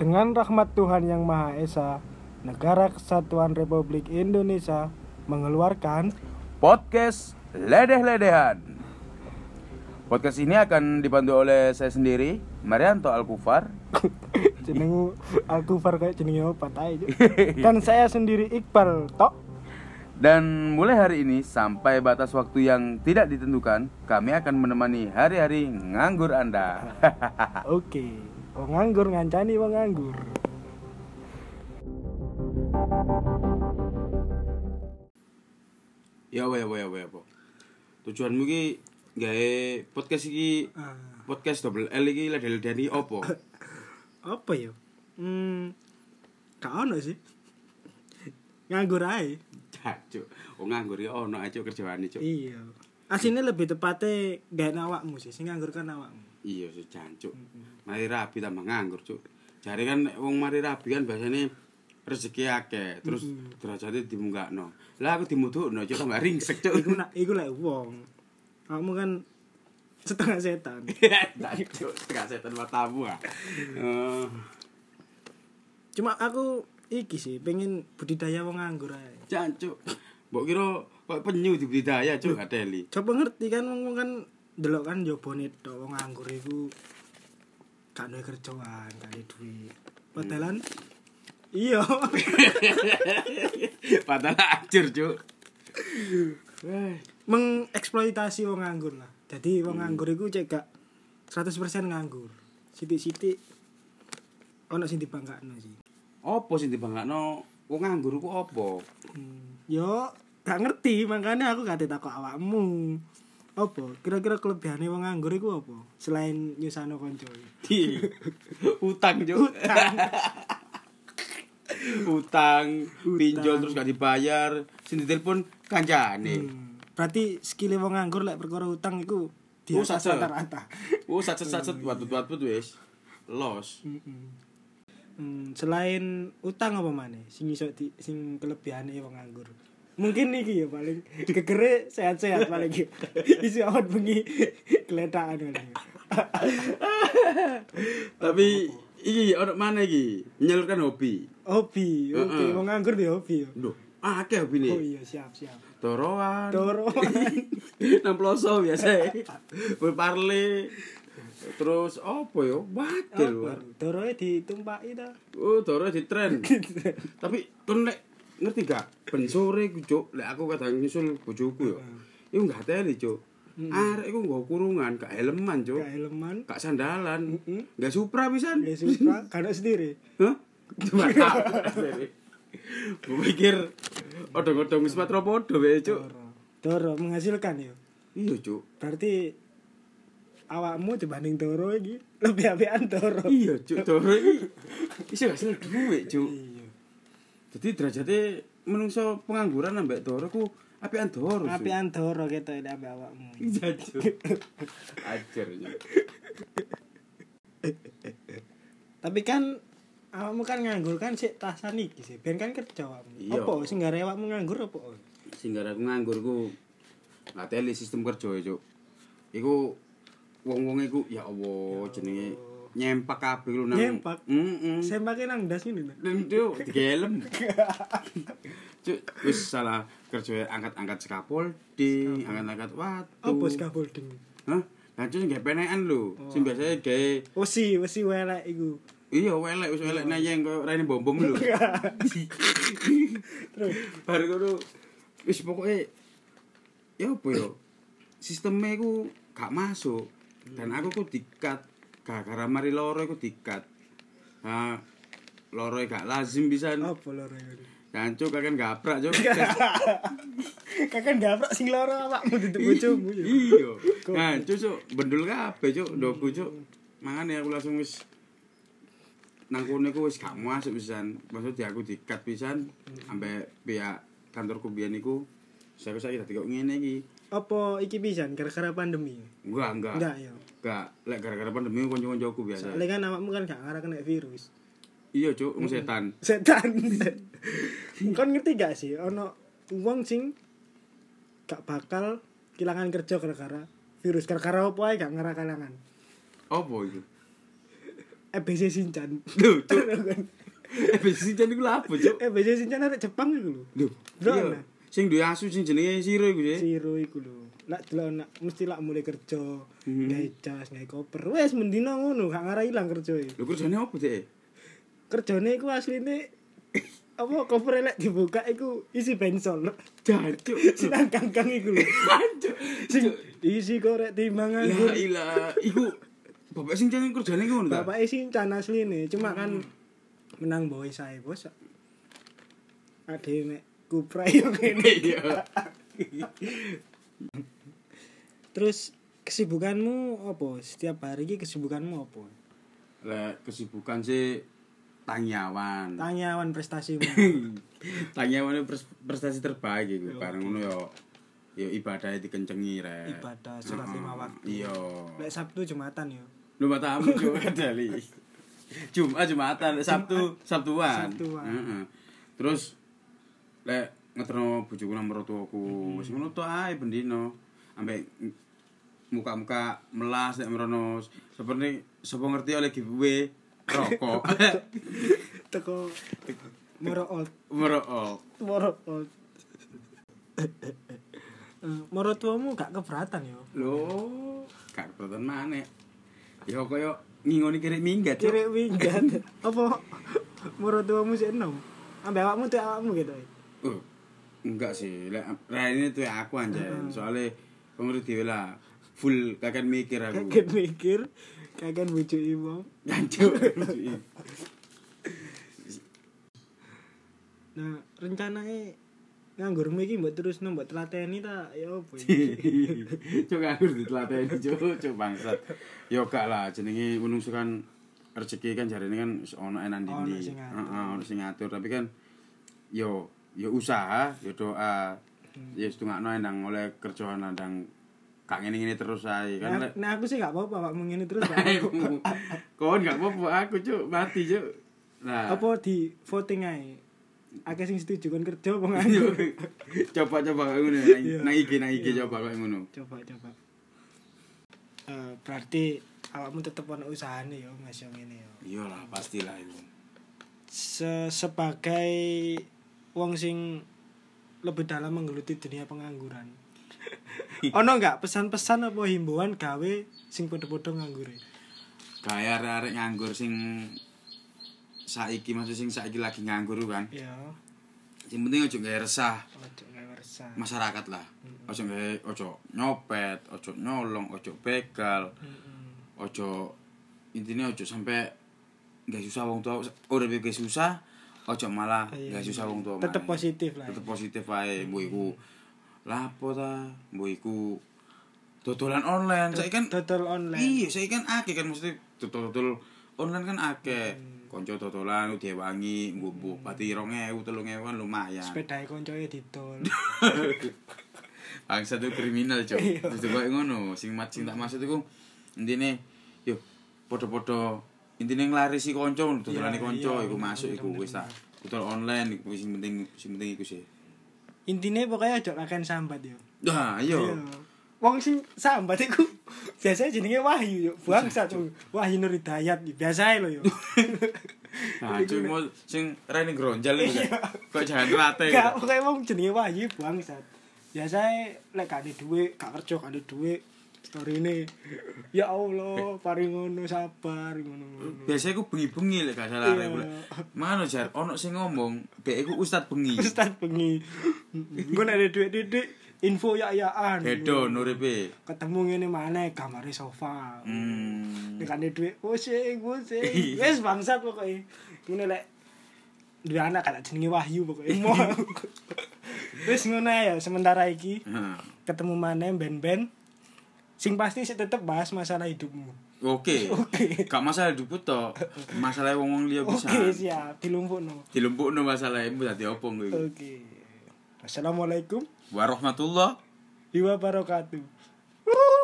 Dengan rahmat Tuhan Yang Maha Esa, Negara Kesatuan Republik Indonesia mengeluarkan podcast Ledeh-Ledehan. Podcast ini akan dibantu oleh saya sendiri, Marianto Alkufar. jeneng Alkufar kayak jenengnya opat aja. Dan saya sendiri Iqbal Tok. Dan mulai hari ini sampai batas waktu yang tidak ditentukan, kami akan menemani hari-hari nganggur Anda. Oke. Oh nganggur ngancani wong nganggur. ya apa ya apa ya apa ya apa. Tujuanmu ki gawe podcast iki Eh, podcast double L iki ledeh-ledehan iki opo? Apa ya? Hmm. Gak ono sih. Nganggur aja. Cuk, oh nganggur ya ono aja kerjaane, Cuk. Iya. Aslinya lebih tepatnya gak awakmu sih, sing nganggur kan awakmu. Iya sih jancuk. Mari rabi tambah nganggur cuk. Jare kan nek wong mari rabi kan biasanya rezeki akeh, terus derajate dimunggakno. Lah aku dimudukno cuk tambah ringsek cuk. Iku nak iku lek wong. Awakmu kan setengah setan. Jancuk, tengah setan matamu ah. Eh, Cuma aku iki sih pengen budidaya wong nganggur ae. Jancuk. Mbok kira kok penyu dibudidaya cuk gak teli. Coba ngerti kan wong kan delok kan jobone tok wong nganggur iku gak duwe kerjaan, gak duwe duit. Padahal iya. Padahal acur cuk. Mengeksploitasi wong nganggur lah. Jadi wong nganggur iku cek gak 100% nganggur. Sithik-sithik ono sing dibanggakno sih. Opo sing dibanggakno wong nganggur ku opo? Hmm. Yo, gak ngerti makanya aku gak ditakok awakmu. Apa? Kira-kira kelebihane wong nganggur iku apa? Selain nyusano konco. Di utang cuk. utang, pinjol terus gak dibayar, sing ditelepon kancane. Hmm. Berarti skill wong nganggur lek perkara utang iku di Oh, atas sase. rata-rata. Oh, sacet-sacet watut-watut wis. Los. Mm-mm. Hmm, selain utang apa maneh sing iso di, sing kelebihane wong nganggur. Mungkin iki ya paling gegere sehat-sehat paling iki. Isi awak bengi geledakan paling. Tapi iki ono mana iki? Menyalurkan hobi. Hobi, oke, wong nganggur di hobi yo. Loh, akeh Oh hobine. iya, siap, siap. Toroan. Doroan. Nang ploso biasa. Berparle. Terus opo yo? Wakil. Doroe ditumpaki ta. Oh, Doro di tren. Tapi kon lek ngerti gak? Ben sore ku cuk, lek aku kadang nyusul bojoku yo. Iku gak teli cuk. Arek iku nggo kurungan, Hmm. gak Hmm. helman cuk. Kaeleman, Gak sandalan. Gak supra pisan. ya suka karena sendiri. Hah? Cuma tak. Gue pikir odong-odong wis matro podo wae cuk. Doro. Doro menghasilkan ya. Iya cuk. Berarti awakmu dibanding Doro iki lebih apean Doro. Iya cuk, Doro iki iso gak sel duwe cuk. Iya. Jadi derajate menungso pengangguran ambek Doro ku apian Doro. Cuk. Apean Doro gitu ya ambek awakmu. Jancuk. Ajar. Cuk. Tapi kan awakmu kan nganggur kan sik tasan iki sih. Ben kan kerja awakmu. Iya. Apa sing gare awakmu nganggur apa? sing gara aku nganggur ku ngateli sistem kerja ya cuk iku wong-wong iku ya Allah jenenge nyempak kabeh lu nang Nyempak? heeh Sembake nang ndas ngene. Lenduk, digelem. Cuk, wis salah kerja angkat-angkat sekapoldi, angkat-angkat watu. Apa scaffolding? Hah? Lah cuk gak penekan lho. Sing biasanya gawe Wesi, wesi welek iku. iya welek wis welek nayeng koyo rene bom-bom lho. Terus Bar ngono wis pokoke ya apa ya? Sisteme ku gak masuk. Dan aku ku dikat gara-gara mari loro ku dikat. Ha loro e gak lazim pisan. apa loro iki? Jancuk kakek gaprak, Cuk. Kakak gaprak sing loro awakmu duduk bojomu ya. Iya. Nah, cuk, bendul kabeh, Cuk, ndoku, Cuk. Mangane aku langsung wis nang kono iku wis gak masuk pisan. Maksud di aku dikat pisan ambe pihak kantorku biyen iku saya saiki dadi kok ngene iki. Apa iki pisan gara-gara pandemi? Enggak, enggak. Enggak ya. Enggak, lek gara-gara pandemi kanca-kancaku biasa. Soalnya kan awakmu kan gak ngarah kena virus. Iya, Cuk, wong setan. Setan. Kon ngerti gak sih ono wong sing gak bakal kehilangan kerja gara-gara virus gara-gara apa ae gak ngarah kalangan. Opo iku? EBC Shinchan. Lho, cuk. EBC Shinchan iku lapo, cuk? EBC Shinchan arek Jepang iku lho. Lho, Eh, Bro, iya. nah. Sing duwe asu sing jenenge Siro iku sih. Siro iku lho. Nak delok nak mesti lak mulai kerja, gawe jas, gawe koper. Wes mendino ngono, gak ngarah ilang e. kerjoe. Lho kerjane opo dhek? Kerjane iku asline apa koper elek dibuka iku isi bensol. Jancuk. Sinan kangkang iku lho. Jancuk. Sing isi korek timbang La anggur. ilaha. Iku bapak sing jenenge kerjane iku ngono ta? Bapaknya Shinchan asline, cuma kan menang boy saya bos. Ade mek kuprai yo kene. Iya. Terus kesibukanmu apa? Setiap hari iki kesibukanmu apa? Lah kesibukan sih tangyawan. Tanyawan prestasimu. Tangyawane pres- prestasi terbaik iku. Bareng ngono yo yo ibadahnya dikencengi rek. Ibadah, sholat Heeh. lima waktu. Iya. Lek Sabtu Jumatan yo. Lu matamu Jumat dali. ah, Jumat Jumatan, lek Sabtu Sabtuan. Sabtuan. Heeh. Terus lek ngeterno bojoku nang mertuaku, wis ngono tok ae bendino. Ambek ng- muka-muka melas lek merono. Seperti sapa ngerti oleh giveaway rokok. Teko Moro old, Merokok. Moro old. Eh, Moro tuamu gak keberatan yo. Lho, gak kebetulan maneh. Ya koyo ngingoni kiri minggat. Cuk. Ciri winggan. Apa moro tuamu sik enom? Ambek awakmu tuh awakmu gitu. eh. Uh, enggak sih, lek raine tuh aku Hmm. anjen. Soale pengurus dhewe lah. Full kakek mikir aku. Kaget mikir, kaget bujuk ibu. Jancuk. Nah, rencananya nganggurmu iki mbok terusno mbok telateni ta ya opo iki? Cuk aku ditelateni cuk, cuk bangsat. Yo gak lah jenenge menungso kan rezeki kan jarine kan wis ono enan Ono dindi. sing ngatur. Heeh, ono sing ngatur, tapi kan yo yo usaha, yo doa. Hmm. Ya setungakno endang oleh kerjaan endang kak ngene-ngene terus ae Nah, kan lek nah aku sih gak apa-apa Pak mengini terus. Pak. Kon gak apa-apa aku cuk mati cuk. Nah. Apa di voting ae? Akeh sing setuju kon kerja apa Yo, nganggur? coba coba kayak ngono Iya. nang IG nang IG coba kayak ngono. coba coba. Eh, berarti awakmu tetep ono usahane ya Mas yang ini ya. Iyalah pastilah itu. Se sebagai wong sing lebih dalam menggeluti dunia pengangguran. ono nggak pesan-pesan apa himbauan gawe sing podo-podo nganggure? Kayak arek-arek nganggur sing saiki maksud sing saiki lagi nganggur kan. Ya, Sing penting ojo gawe resah ojo gawe resah. masyarakat lah. Ojo gawe ojo nyopet, ojo nyolong, ojo begal, Mm-mm. ojo intinya ojo sampai gak susah wong tua urip gak susah ojo malah Iya, gak susah wong tua Tetep maneh. positif lah. tetep positif Hmm. ae mbok iku lapo ta mbok iku dodolan online saiki kan Total online. iya saiki kan akeh kan mesti dodol-dodol online kan akeh Hmm. konco dodolan udah wangi mbok mbok pati 2000 3000 kan lumayan Sepeda koncoe didol. bangsa tuh kriminal cok itu kok ngono sing mat sing tak maksud iku intine yo podo-podo intine nglarisi kanca dodolane Iya, kanca iya, iku bener, masuk iku bener, wis ta dodol online iku sing penting sing penting iku sih Intine pokoknya ojo kakean sambat yo. Nah, Iya. ayo. Wong sing sambat iku biasanya jenenge Wahyu yo. Bangsat yo. Wahyu Nur Hidayat biasane lho yo. Nah, cuma sing rene gronjal iki. Kok jangan rate. Gak pokoke wong jenenge Wahyu bangsat. Biasane lek gak ada duit, gak kerja gak ada duit, storine ya Allah, paring ngono sabar ngono. Biasanya aku bengi-bengi lek gak salah Iya. arek. Mana jar ono sing ngomong, dek iku ustad bengi. Ustaz bengi. Engko nek ada duit titik info ya yaan. Bedo nuripe. Ketemu ngene maneh kamare sofa. Hmm. Nek ada duit, Oh, pusing, pusing. Wes bangsat pokoknya. Ngene lek duwe anak kan jenenge Wahyu pokoknya. Mau. Wes ngono ae ya sementara iki Nah, ketemu maneh ben-ben. Sing pasti sih tetep bahas masalah hidupmu. Oke. Oke. Gak masalah hidupku to. Masalah wong-wong liya Oke, bisa. siap. Dilumpukno. Dilempukno masalahmu dadi opo ngono Oke. iku. Assalamualaikum Warahmatullah. warahmatullahi wabarakatuh.